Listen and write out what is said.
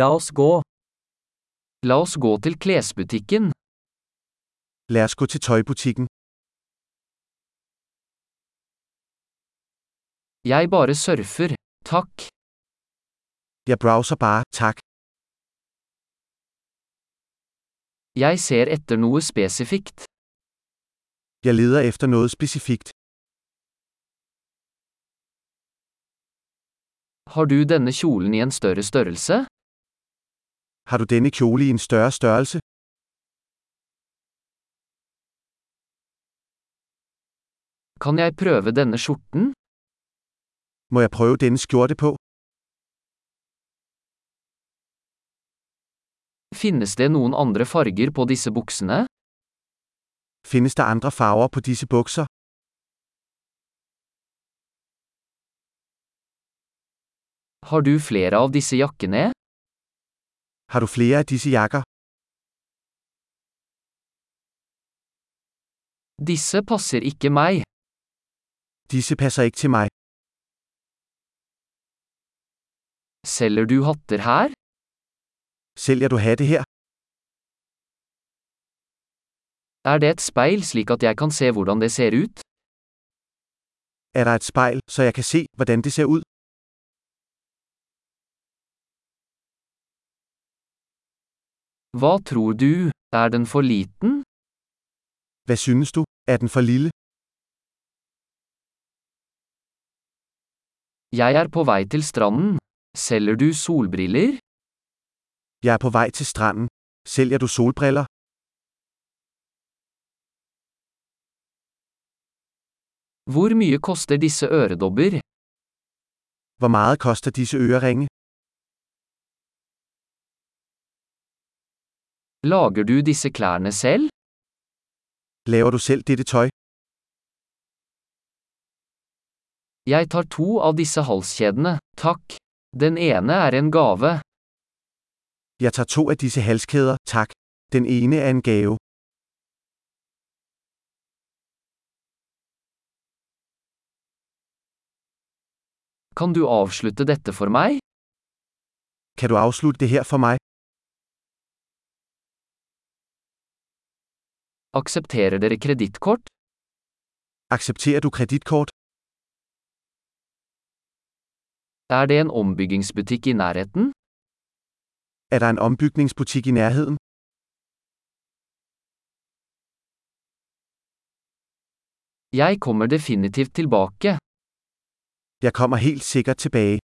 La oss gå. La oss gå til klesbutikken. Lad os gå til tøjbutikken. Jeg bare surfer. Takk. Jeg browser bare, tak. Jeg ser etter noe spesifikt. Jeg leder efter noget specifikt. Har du denne kjolen i en større størrelse? Har du denne kjole i en større størrelse? Kan jeg prøve denne skjorten? Må jeg prøve denne skjorte på? Finnes det noen andre farger på disse buksene? Findes der andre farver på disse bukser? Har du flere av disse jakkene? Har du flere af disse jakker? Disse passer ikke meg. Disse passer ikke til mig. Selger du hatter her? Sælger du hatte her? Er det et speil slik at jeg kan se hvordan det ser ut? Er der et spejl, så jeg kan se, hvordan det ser ud? Hva tror du? Er den for liten? Hvad synes du? Er den for lille? Jeg er på vei til stranden. Selger du solbriller? Jeg er på vej til stranden. Sælger du solbriller? Hvor mye koster disse øredobber? Hvor meget koster disse øreringe? Lager du disse klærne selv? Laver du selv dette tøj? Jeg tar to av disse halskjedene, takk. Den ene er en gave. Jeg tager to af disse halskæder, tak. Den ene er en gave. Kan du avslutte dette for meg? Kan du afslutte det her for mig? Aksepterer dere kredittkort? Accepterer du kreditkort? Er det en ombyggingsbutikk i nærheten? Er der en ombygningsbutik i nærheden? Jeg kommer definitivt tilbake. Jeg kommer helt sikkert tilbage.